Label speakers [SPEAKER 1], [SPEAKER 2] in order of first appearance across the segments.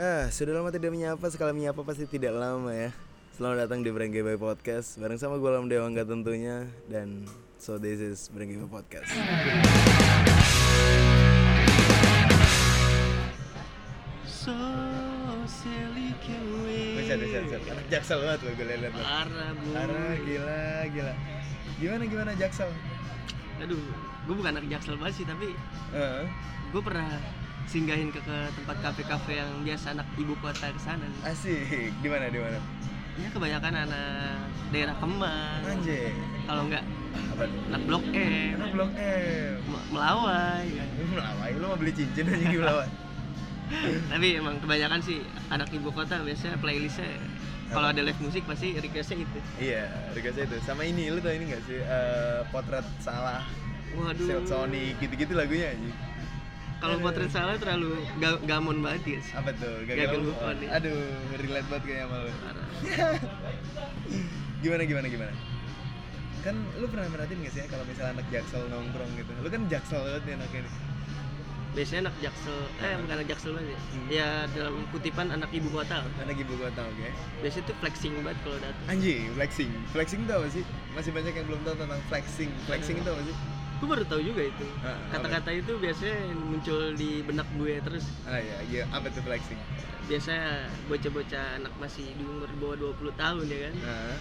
[SPEAKER 1] Ah, sudah lama tidak menyapa, sekali menyapa pasti tidak lama ya. Selamat datang di Brengge Boy Podcast bareng sama gue Lam Dewangga tentunya dan so this is Brengge Boy Podcast.
[SPEAKER 2] So silly can we
[SPEAKER 1] Bisa, bisa, bisa. Jaksel banget lo gue liat lo.
[SPEAKER 2] Parah bu
[SPEAKER 1] Parah, gitu. gila, gila. Gimana gimana Jaksel?
[SPEAKER 2] Aduh, gue bukan anak jaksel banget sih Tapi
[SPEAKER 1] Heeh.
[SPEAKER 2] gue pernah singgahin ke, ke tempat kafe-kafe yang biasa anak ibu kota kesana sih.
[SPEAKER 1] asik. Di mana di mana?
[SPEAKER 2] Ya kebanyakan anak daerah Kemang
[SPEAKER 1] Anjir.
[SPEAKER 2] Kalau enggak,
[SPEAKER 1] Apa tuh?
[SPEAKER 2] anak Blok M
[SPEAKER 1] Enak blok M.
[SPEAKER 2] Me- Melawai kan.
[SPEAKER 1] Lu melawai, lu mau beli cincin aja gitu, di melawai.
[SPEAKER 2] Tapi emang kebanyakan sih anak ibu kota biasanya playlistnya kalau ada live musik pasti requestnya itu
[SPEAKER 1] Iya, harga itu. Sama ini, lu tau ini gak sih? Eh, potret salah.
[SPEAKER 2] Waduh
[SPEAKER 1] Silk Sonic, gitu-gitu lagunya aja.
[SPEAKER 2] Kalau potret salah terlalu ga- gamon banget ya sih
[SPEAKER 1] apa tuh
[SPEAKER 2] Gagal
[SPEAKER 1] gagal,
[SPEAKER 2] move on.
[SPEAKER 1] aduh relate banget kayaknya sama lu
[SPEAKER 2] Parah.
[SPEAKER 1] gimana gimana gimana kan lu pernah merhatiin gak sih ya kalau misalnya anak jaksel nongkrong gitu lu kan jaksel banget nih anaknya nih
[SPEAKER 2] biasanya anak jaksel eh bukan anak jaksel banget ya
[SPEAKER 1] Hmm.
[SPEAKER 2] ya dalam kutipan anak ibu kota lah.
[SPEAKER 1] anak ibu kota oke
[SPEAKER 2] biasanya tuh flexing banget kalau datang
[SPEAKER 1] anjing flexing flexing tuh apa sih masih banyak yang belum tahu tentang flexing flexing itu apa sih
[SPEAKER 2] gue baru tahu juga itu
[SPEAKER 1] Ah, apa?
[SPEAKER 2] kata-kata itu biasanya muncul di benak gue terus
[SPEAKER 1] ah iya iya apa tuh flexing
[SPEAKER 2] biasanya bocah-bocah anak masih di umur di bawah 20 tahun ya kan
[SPEAKER 1] nah.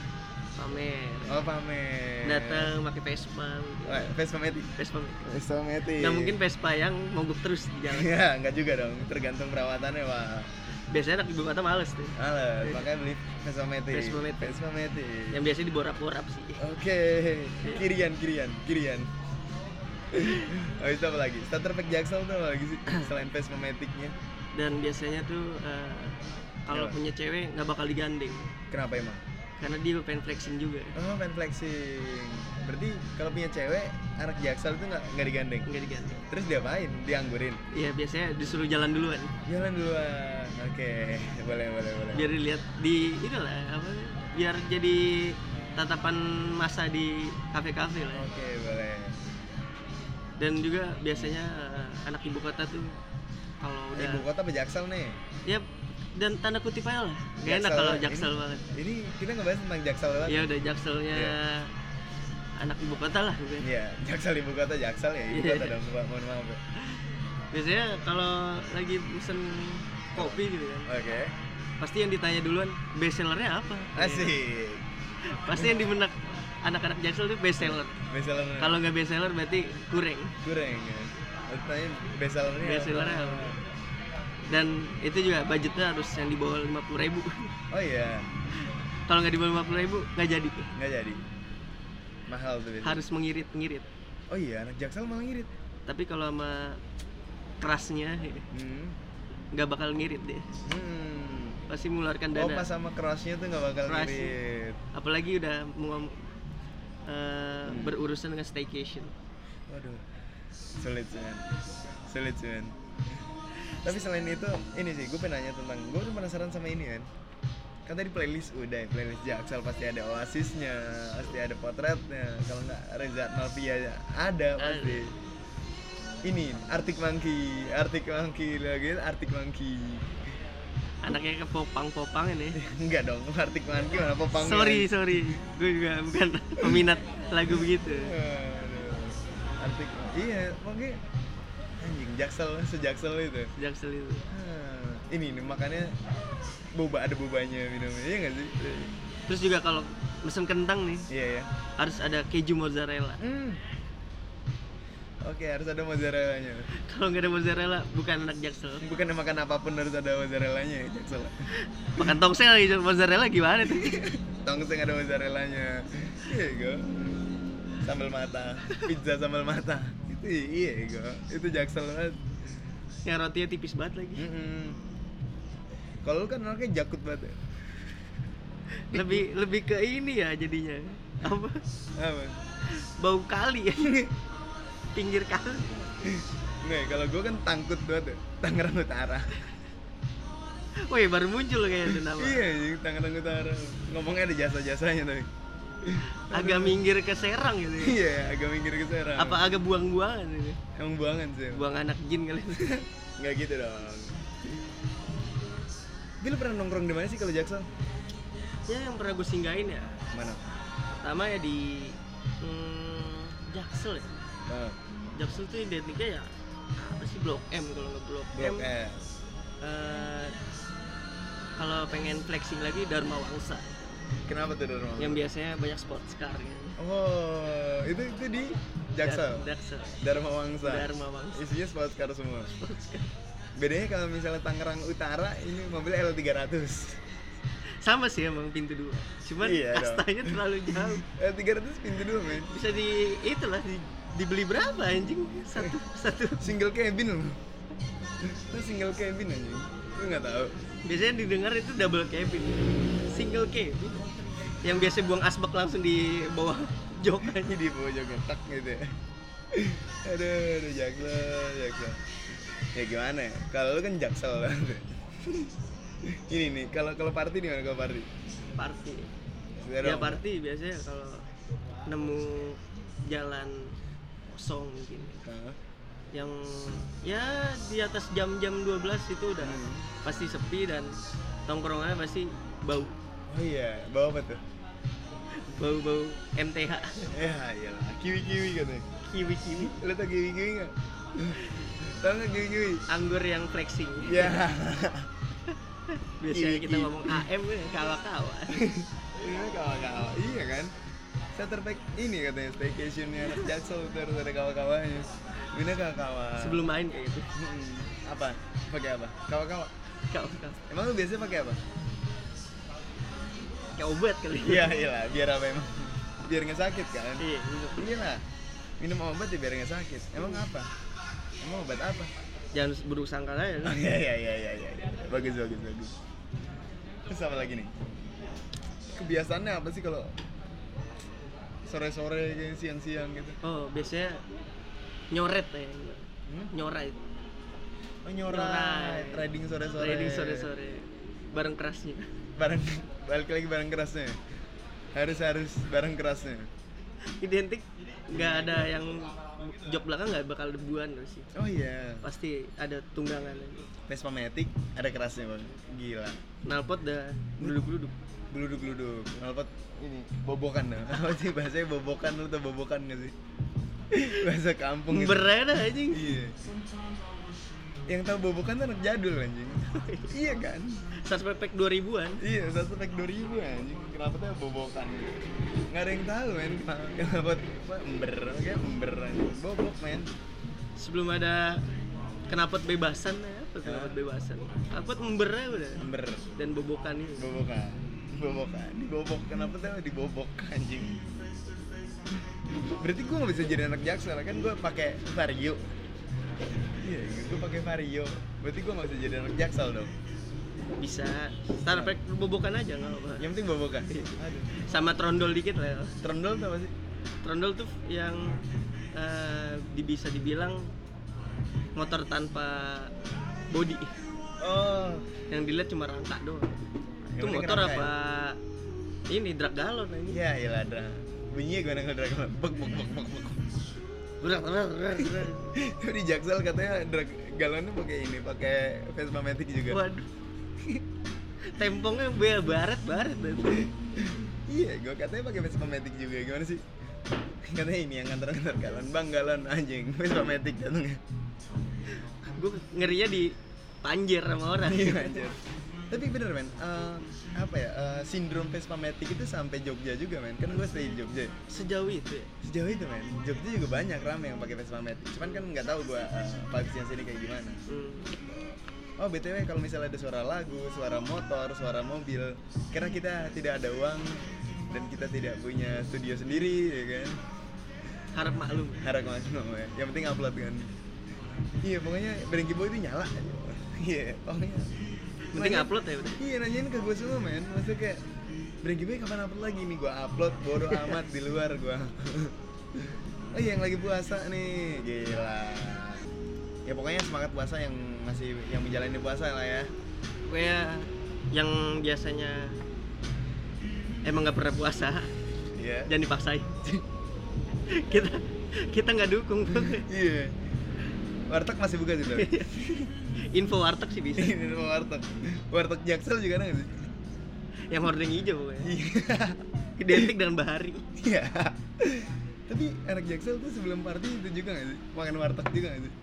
[SPEAKER 2] pamer
[SPEAKER 1] oh pamer
[SPEAKER 2] datang pakai Vespa gitu.
[SPEAKER 1] Wah, Vespa Matic
[SPEAKER 2] Vespa
[SPEAKER 1] Vespa Matic
[SPEAKER 2] nggak mungkin Vespa yang mogok terus di jalan
[SPEAKER 1] ya nggak juga dong tergantung perawatannya pak
[SPEAKER 2] biasanya anak ibu kota males tuh
[SPEAKER 1] Males, makanya beli Vespa Matic
[SPEAKER 2] Vespa Matic.
[SPEAKER 1] Vespa Matic
[SPEAKER 2] yang biasanya diborap-borap sih
[SPEAKER 1] Oke, kirian, kirian, kirian. Habis itu apa lagi? Starter pack Jaksel tuh apa lagi sih? Selain Vespa Matic-nya.
[SPEAKER 2] dan biasanya tuh eh, kalau
[SPEAKER 1] Apa?
[SPEAKER 2] punya cewek nggak bakal digandeng
[SPEAKER 1] Kenapa emang?
[SPEAKER 2] karena dia pengen flexing juga
[SPEAKER 1] Oh, fan flexing. Berarti kalau punya cewek, anak Jaksel tuh nggak nggak digandeng.
[SPEAKER 2] nggak digandeng
[SPEAKER 1] Terus diapain? Dianggurin.
[SPEAKER 2] ya biasanya disuruh jalan duluan
[SPEAKER 1] Jalan duluan. Oke, boleh, boleh, boleh.
[SPEAKER 2] biar dilihat di itulah apa biar jadi tatapan masa di kafe-kafe lah ya.
[SPEAKER 1] Oke, boleh.
[SPEAKER 2] dan juga biasanya eh, anak ibu kota tuh kalau udah
[SPEAKER 1] Ibu kota apa Jaksel nih?
[SPEAKER 2] ya dan tanda kutip aja lah gak enak
[SPEAKER 1] Jaksel
[SPEAKER 2] kalau
[SPEAKER 1] lah, ini.
[SPEAKER 2] jaksel banget
[SPEAKER 1] Ini kita ngebahas tentang Jaksel banget.
[SPEAKER 2] ya udah jakselnya
[SPEAKER 1] Iya.
[SPEAKER 2] anak ibu kota lah gitu.
[SPEAKER 1] Iya, Jaksel ibu kota, Jaksel ya ibu
[SPEAKER 2] Iya.
[SPEAKER 1] kota dong. Mohon maaf. ya.
[SPEAKER 2] biasanya kalau lagi pesen kopi gitu kan
[SPEAKER 1] Oke.
[SPEAKER 2] pasti yang ditanya duluan best sellernya apa
[SPEAKER 1] Asik.
[SPEAKER 2] pasti yang di benak anak-anak jaksel tuh best seller
[SPEAKER 1] Bestseller mana?
[SPEAKER 2] kalau nggak best seller berarti kurang
[SPEAKER 1] goreng ya. Lu Tanya bestsellernya. apa?
[SPEAKER 2] Bestsellernya apa? dan itu juga budgetnya harus yang di bawah lima puluh ribu
[SPEAKER 1] Oh iya,
[SPEAKER 2] kalau nggak di bawah lima puluh ribu nggak jadi
[SPEAKER 1] nggak jadi. Mahal tuh biasanya.
[SPEAKER 2] harus mengirit ngirit
[SPEAKER 1] Oh iya, anak Jaksel malah ngirit.
[SPEAKER 2] tapi kalau sama kerasnya ya,
[SPEAKER 1] Hmm.
[SPEAKER 2] nggak bakal ngirit deh
[SPEAKER 1] Hmm.
[SPEAKER 2] pasti mengeluarkan
[SPEAKER 1] Oh
[SPEAKER 2] dana
[SPEAKER 1] pas sama crushnya tuh nggak bakal
[SPEAKER 2] Crush.
[SPEAKER 1] ngirit.
[SPEAKER 2] apalagi udah mau eh,
[SPEAKER 1] Hmm.
[SPEAKER 2] berurusan dengan staycation
[SPEAKER 1] Waduh, sulit cuman, sulit cuman. Tapi selain itu, ini sih gue pengen nanya tentang gue tuh penasaran sama ini kan. Kan tadi playlist udah, ya, playlist Jaksel pasti ada Oasisnya, pasti ada potretnya. Kalau nggak Reza Malvia ada pasti. Ini Arctic Monkey, Arctic Monkey lagi Arctic Monkey.
[SPEAKER 2] anaknya kepopang popang ini
[SPEAKER 1] Enggak dong, Arctic Monkey mana popang. ya.
[SPEAKER 2] sorry sorry gue juga bukan peminat lagu begitu
[SPEAKER 1] Aduh, Arctic. Iya, mungkin anjing Jaksel sejaksel itu.
[SPEAKER 2] jaksel itu
[SPEAKER 1] Hmm, ini nih makanya boba ada bobanya minumnya iya nggak sih
[SPEAKER 2] terus juga kalau mesen kentang nih
[SPEAKER 1] iya ya
[SPEAKER 2] harus ada keju mozzarella
[SPEAKER 1] hmm. oke harus ada mozzarellanya
[SPEAKER 2] kalau nggak ada mozzarella bukan anak jaksel
[SPEAKER 1] bukan makan apapun harus ada mozzarellanya ya jaksel
[SPEAKER 2] makan tongsel lagi mozzarella gimana tuh
[SPEAKER 1] tongseng ada mozzarellanya iya go sambal mata pizza sambal mata itu iya go itu jaksel banget
[SPEAKER 2] yang rotinya tipis banget lagi
[SPEAKER 1] Mm-mm. kalau lu kan anaknya jakut banget ya.
[SPEAKER 2] lebih lebih ke ini ya jadinya apa
[SPEAKER 1] apa
[SPEAKER 2] bau kali ya. pinggir kali
[SPEAKER 1] nih kalau gue kan tangkut banget ya. Tangerang Utara
[SPEAKER 2] woi baru muncul kayaknya tuh nama
[SPEAKER 1] Iya, anjing, Tangerang Utara. Ngomongnya ada jasa-jasanya tapi.
[SPEAKER 2] agak minggir ke Serang gitu ya.
[SPEAKER 1] Iya, agak minggir ke Serang.
[SPEAKER 2] apa agak buang-buangan gitu
[SPEAKER 1] Emang buangan sih.
[SPEAKER 2] buang anak jin kali
[SPEAKER 1] Enggak gitu dong. Tapi lu pernah nongkrong di mana sih kalau Jaksel?
[SPEAKER 2] ya yang pernah gue singgahin ya
[SPEAKER 1] Mana?
[SPEAKER 2] pertama ya di hmm, Jaksel ya
[SPEAKER 1] Eh,
[SPEAKER 2] Jaksel tuh identiknya ya apa sih Blok M kalau nggak Blok,
[SPEAKER 1] Blok
[SPEAKER 2] M
[SPEAKER 1] S.
[SPEAKER 2] eh, kalau pengen flexing lagi Dharma Wangsa
[SPEAKER 1] Kenapa tuh Dharma?
[SPEAKER 2] yang biasanya banyak sports car gitu.
[SPEAKER 1] Oh, itu itu di Jaksel.
[SPEAKER 2] Jak- Jaksel
[SPEAKER 1] Dharma Wangsa.
[SPEAKER 2] Dharma Wangsa
[SPEAKER 1] Isinya sports car semua.
[SPEAKER 2] Sports car.
[SPEAKER 1] Bedanya kalau misalnya Tangerang Utara ini mobil L300.
[SPEAKER 2] sama sih emang pintu dua cuman
[SPEAKER 1] Iya dong.
[SPEAKER 2] kastanya terlalu jauh
[SPEAKER 1] L300 pintu dua, men.
[SPEAKER 2] bisa di itulah di, dibeli berapa anjing satu satu
[SPEAKER 1] Single cabin loh. Itu single cabin anjing. Lu nggak tahu.
[SPEAKER 2] biasanya didengar itu double cabin single cabin yang biasa buang asbak langsung di bawah jok aja
[SPEAKER 1] Ini di bawah jaga tak gitu ya. aduh, aduh jaksel, jaksel. Ya gimana ya? Kalau lu kan jaksel banget. Ini nih, kalau kalau party di mana kalau party?
[SPEAKER 2] party
[SPEAKER 1] Saudara
[SPEAKER 2] ya
[SPEAKER 1] om.
[SPEAKER 2] party biasanya kalau nemu jalan kosong mungkin
[SPEAKER 1] Hah?
[SPEAKER 2] yang ya di atas jam-jam 12 itu udah
[SPEAKER 1] Hmm.
[SPEAKER 2] pasti sepi dan tongkrongannya pasti bau
[SPEAKER 1] Oh iya, bawa apa tuh?
[SPEAKER 2] bau-bau MTH
[SPEAKER 1] Ya iyalah, kiwi-kiwi katanya.
[SPEAKER 2] kiwi-kiwi
[SPEAKER 1] Lu tau kiwi-kiwi nggak? Tau nggak kiwi-kiwi?
[SPEAKER 2] anggur yang flexing
[SPEAKER 1] Ya.
[SPEAKER 2] biasanya kita
[SPEAKER 1] Kiwi-kiwi.
[SPEAKER 2] ngomong AM ya, kawa-kawa
[SPEAKER 1] Ini kawan-kawan. Iya kan? Saya terbaik ini katanya staycationnya anak jaksel tuh harus ada kawan-kawannya. Ini kawan-kawan.
[SPEAKER 2] sebelum main kayak gitu
[SPEAKER 1] Hmm, apa? Pakai apa? Kawa-kawa.
[SPEAKER 2] kawa-kawa
[SPEAKER 1] Emang lu biasanya pakai apa?
[SPEAKER 2] kayak obat kali
[SPEAKER 1] Iya, iyalah, biar apa emang? Biar nggak sakit kan?
[SPEAKER 2] iya gitu.
[SPEAKER 1] Iyalah. Minum obat ya biar nggak sakit. Emang apa? Emang obat apa?
[SPEAKER 2] jangan buruk sangka aja
[SPEAKER 1] Oh, iya, iya, iya, iya, iya. iya. Bagus, bagus, bagus. Terus apa lagi nih? Kebiasaannya apa sih kalau sore-sore kayak siang-siang gitu?
[SPEAKER 2] oh biasanya nyoret ya
[SPEAKER 1] Hmm?
[SPEAKER 2] nyoret
[SPEAKER 1] Oh, nyorai. Trading sore-sore.
[SPEAKER 2] trading sore-sore bareng kerasnya
[SPEAKER 1] Barang balik lagi barang kerasnya. Harus harus barang kerasnya.
[SPEAKER 2] identik nggak ada yang jok belakang nggak bakal debuan loh sih
[SPEAKER 1] Oh iya.
[SPEAKER 2] pasti ada tunggangan aja.
[SPEAKER 1] Vespa Matic ada kerasnya bang gila
[SPEAKER 2] nalpot dah duduk duduk
[SPEAKER 1] geluduk geluduk nalpot ini bobokan dah apa sih bahasanya bobokan lu tau bobokan gak sih bahasa kampung itu.
[SPEAKER 2] berada anjing
[SPEAKER 1] iya yang tahu bobokan tuh anak jadul anjing iya kan
[SPEAKER 2] sars pepek 2000-an
[SPEAKER 1] iya satu pack dua ribu anjing kenapa tuh bobokan gitu nggak ada yang tahu men kenapa kenapa apa, ember kayak ember anjing bobok men
[SPEAKER 2] sebelum ada kenapot bebasan ya apa kenapot bebasan kenapot embernya udah
[SPEAKER 1] ember
[SPEAKER 2] dan bobokan ini
[SPEAKER 1] bobokan bobokan dibobok kenapa tuh dibobok anjing berarti gue nggak bisa jadi anak jaksel kan gue pakai vario iya gue pakai vario berarti gue nggak bisa jadi anak jaksel dong
[SPEAKER 2] bisa star Trek bobokan aja nggak apa
[SPEAKER 1] yang penting bobokan Iya. aduh
[SPEAKER 2] sama trondol dikit lah ya.
[SPEAKER 1] trendol tuh apa sih
[SPEAKER 2] trondol tuh yang eh, di- bisa dibilang motor tanpa body
[SPEAKER 1] oh
[SPEAKER 2] yang dilihat cuma rangka doang itu
[SPEAKER 1] Yang penting
[SPEAKER 2] motor
[SPEAKER 1] rangka
[SPEAKER 2] apa ini drag galon ini
[SPEAKER 1] ya ilah ada bunyinya gue nangkal dragon bek bek bek bek bek
[SPEAKER 2] berat berat berat berat.
[SPEAKER 1] Tapi di jaksel katanya drag galonnya pakai ini pakai Vespa Matic juga
[SPEAKER 2] waduh tempongnya bel baret baret baret.
[SPEAKER 1] Iya, gue katanya pakai Vespa Matic juga. Gimana sih? Katanya ini yang nganter-nganter galon, bang galon anjing Vespa Matic jatuhnya.
[SPEAKER 2] gue ngerinya di panjer sama orang
[SPEAKER 1] Iya anjir. Tapi bener men, eh, apa ya? eh, sindrom Vespa Matic itu sampai Jogja juga men. Kan gue stay di Jogja.
[SPEAKER 2] sejauh itu ya
[SPEAKER 1] Sejauh itu men, Jogja juga banyak rame yang pakai Vespa Matic. Cuman kan nggak tahu gue vibes yang sini kayak gimana.
[SPEAKER 2] Hmm.
[SPEAKER 1] Oh btw kalau misalnya ada suara lagu, suara motor, suara mobil, karena kita tidak ada uang dan kita tidak punya studio sendiri, ya kan?
[SPEAKER 2] harap maklum
[SPEAKER 1] harap maklum ya yang penting upload kan iya pokoknya Brengki Boy itu nyala aja. iya pokoknya
[SPEAKER 2] penting
[SPEAKER 1] Nanya-
[SPEAKER 2] upload ya udah.
[SPEAKER 1] iya nanyain ke gue semua men maksudnya kayak Brengki Boy kapan upload lagi nih gue upload bodo amat di luar gue oh iya yang lagi puasa nih gila ya pokoknya semangat puasa yang masih yang menjalani puasa lah ya
[SPEAKER 2] kayak yang biasanya emang nggak pernah puasa
[SPEAKER 1] iya
[SPEAKER 2] jangan dipaksain kita kita nggak dukung
[SPEAKER 1] iya warteg masih buka sih tapi
[SPEAKER 2] info warteg sih bisa
[SPEAKER 1] Ini warteg. Warteg Jaksel juga ada nggak sih?
[SPEAKER 2] yang hordeng hijau pokoknya identik dengan bahari
[SPEAKER 1] Iya. Tapi anak Jaksel tuh sebelum party itu juga nggak sih? Makan warteg juga nggak sih?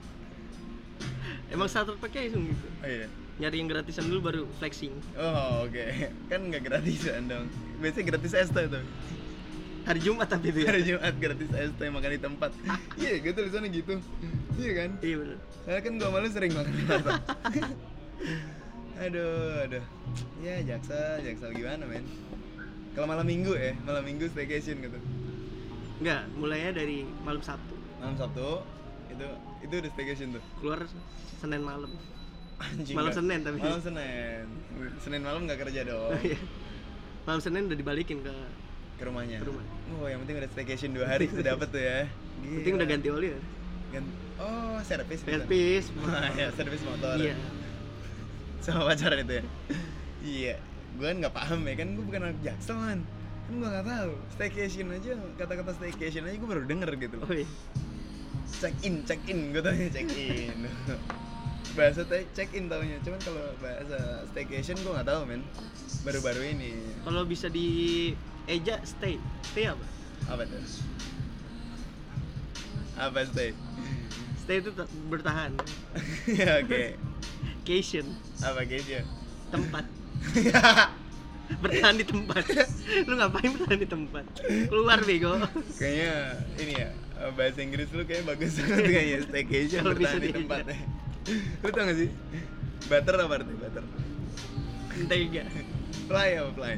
[SPEAKER 2] emang starter pakai langsung gitu
[SPEAKER 1] Oh iya.
[SPEAKER 2] nyari yang gratisan dulu baru flexing
[SPEAKER 1] Oh oke. Kan nggak gratisan dong. Biasanya gratis es teh tuh.
[SPEAKER 2] hari Jumat tapi itu ya
[SPEAKER 1] Hari Jumat gratis es teh makan di tempat. Iya, gue tulisannya gitu. Iya kan?
[SPEAKER 2] iya bener
[SPEAKER 1] Karena kan gua malu sering makan di warteg. aduh, aduh. Ya Jaksel, Jaksel gimana men? Kalau malam minggu ya, malam minggu staycation gitu.
[SPEAKER 2] enggak mulainya dari malam Sabtu
[SPEAKER 1] malam Sabtu itu itu udah staycation tuh
[SPEAKER 2] keluar Senin malam
[SPEAKER 1] Anjing,
[SPEAKER 2] Malam
[SPEAKER 1] nggak-
[SPEAKER 2] Senin tapi.
[SPEAKER 1] malam Senin Senin malam nggak kerja dong
[SPEAKER 2] Oh, iya. malam Senin udah dibalikin ke
[SPEAKER 1] ke rumahnya
[SPEAKER 2] Ke rumah.
[SPEAKER 1] oh yang penting udah staycation dua hari sudah dapat tuh ya
[SPEAKER 2] penting udah ganti oli ya
[SPEAKER 1] Gan- oh servis gitu.
[SPEAKER 2] servis
[SPEAKER 1] ya servis motor
[SPEAKER 2] iya
[SPEAKER 1] sama pacaran itu ya iya gue kan nggak paham ya kan gue bukan anak jaksel kan kan gue nggak tahu staycation aja kata-kata staycation aja gue baru denger gitu loh
[SPEAKER 2] oh iya
[SPEAKER 1] check in check in gue tanya check in bahasa teh check in taunya cuman kalau bahasa staycation gue nggak tahu men baru-baru ini
[SPEAKER 2] kalau bisa di eja stay stay apa
[SPEAKER 1] apa tuh apa stay
[SPEAKER 2] stay itu te- bertahan
[SPEAKER 1] ya oke
[SPEAKER 2] cation
[SPEAKER 1] apa gitu
[SPEAKER 2] tempat bertahan di tempat lu ngapain bertahan di tempat keluar bego
[SPEAKER 1] kayaknya ini ya eh, bahasa Inggris lu kayak bagus banget kayaknya staycation
[SPEAKER 2] Kalau bisa
[SPEAKER 1] bertahan di
[SPEAKER 2] diajak.
[SPEAKER 1] tempatnya lu tau gak sih butter apa artinya butter
[SPEAKER 2] tega
[SPEAKER 1] fly apa fly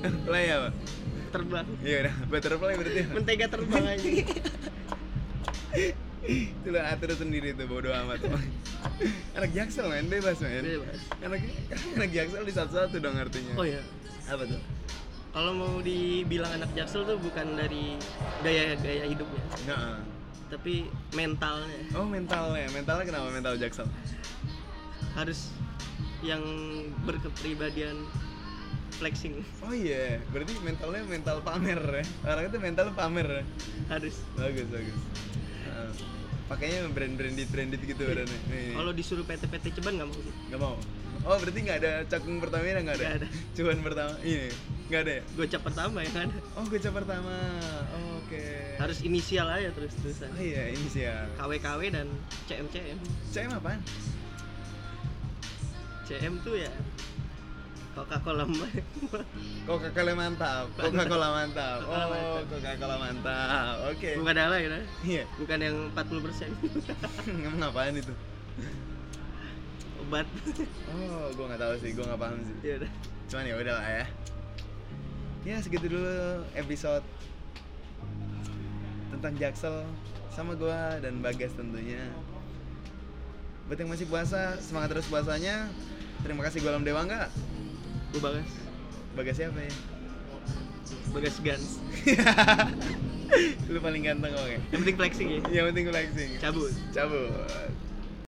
[SPEAKER 1] fly apa
[SPEAKER 2] terbang
[SPEAKER 1] iya udah butterfly berarti apa?
[SPEAKER 2] mentega terbang aja
[SPEAKER 1] itu lo atur sendiri tuh bodo amat anak jaksel main bebas main
[SPEAKER 2] Bebas.
[SPEAKER 1] anak anak jaksel di satu satu dong artinya
[SPEAKER 2] oh iya
[SPEAKER 1] apa tuh
[SPEAKER 2] kalau mau dibilang anak jaksel tuh bukan dari gaya gaya hidupnya
[SPEAKER 1] nah
[SPEAKER 2] tapi mentalnya
[SPEAKER 1] oh mentalnya mentalnya kenapa mental jaksel
[SPEAKER 2] harus yang berkepribadian flexing
[SPEAKER 1] oh iya berarti mentalnya mental pamer ya orang itu mental pamer ya
[SPEAKER 2] harus
[SPEAKER 1] bagus bagus Heeh. pakainya brand branded branded gitu badannya nih
[SPEAKER 2] kalau disuruh PT-PT ceban nggak mau
[SPEAKER 1] nggak mau oh berarti nggak ada cakung pertamina nggak ada
[SPEAKER 2] Nggak ada.
[SPEAKER 1] cuman pertama ini nggak ada ya
[SPEAKER 2] gocap pertama yang ada
[SPEAKER 1] oh gocap pertama oh, oke
[SPEAKER 2] harus inisial aja terus terusan
[SPEAKER 1] Oh iya, ini sih ya.
[SPEAKER 2] KWKW dan CMCM
[SPEAKER 1] CM apaan?
[SPEAKER 2] CM tuh ya Coca-Cola
[SPEAKER 1] Coca-Cola mantap. Coca-Cola mantap.
[SPEAKER 2] Coca-Cola
[SPEAKER 1] Oh,
[SPEAKER 2] mantap.
[SPEAKER 1] Coca-Cola mantap. Oke.
[SPEAKER 2] bukan ala ya nah.
[SPEAKER 1] Iya.
[SPEAKER 2] bukan yang 40%
[SPEAKER 1] Emang apaan itu?
[SPEAKER 2] obat
[SPEAKER 1] Oh, gua nggak tahu sih, gua nggak paham sih.
[SPEAKER 2] ya udah
[SPEAKER 1] Cuman ya udah lah ya. Ya segitu dulu episode tentang Jaksel sama gua dan Bagas tentunya. Buat yang masih puasa, semangat terus puasanya. Terima kasih Gua Alam Dewa enggak?
[SPEAKER 2] gue bagas
[SPEAKER 1] Bagas siapa ya?
[SPEAKER 2] bagas gans
[SPEAKER 1] Lu paling ganteng oke.
[SPEAKER 2] yang penting flexing ya
[SPEAKER 1] Yang penting gue flexing.
[SPEAKER 2] cabut
[SPEAKER 1] Cabut.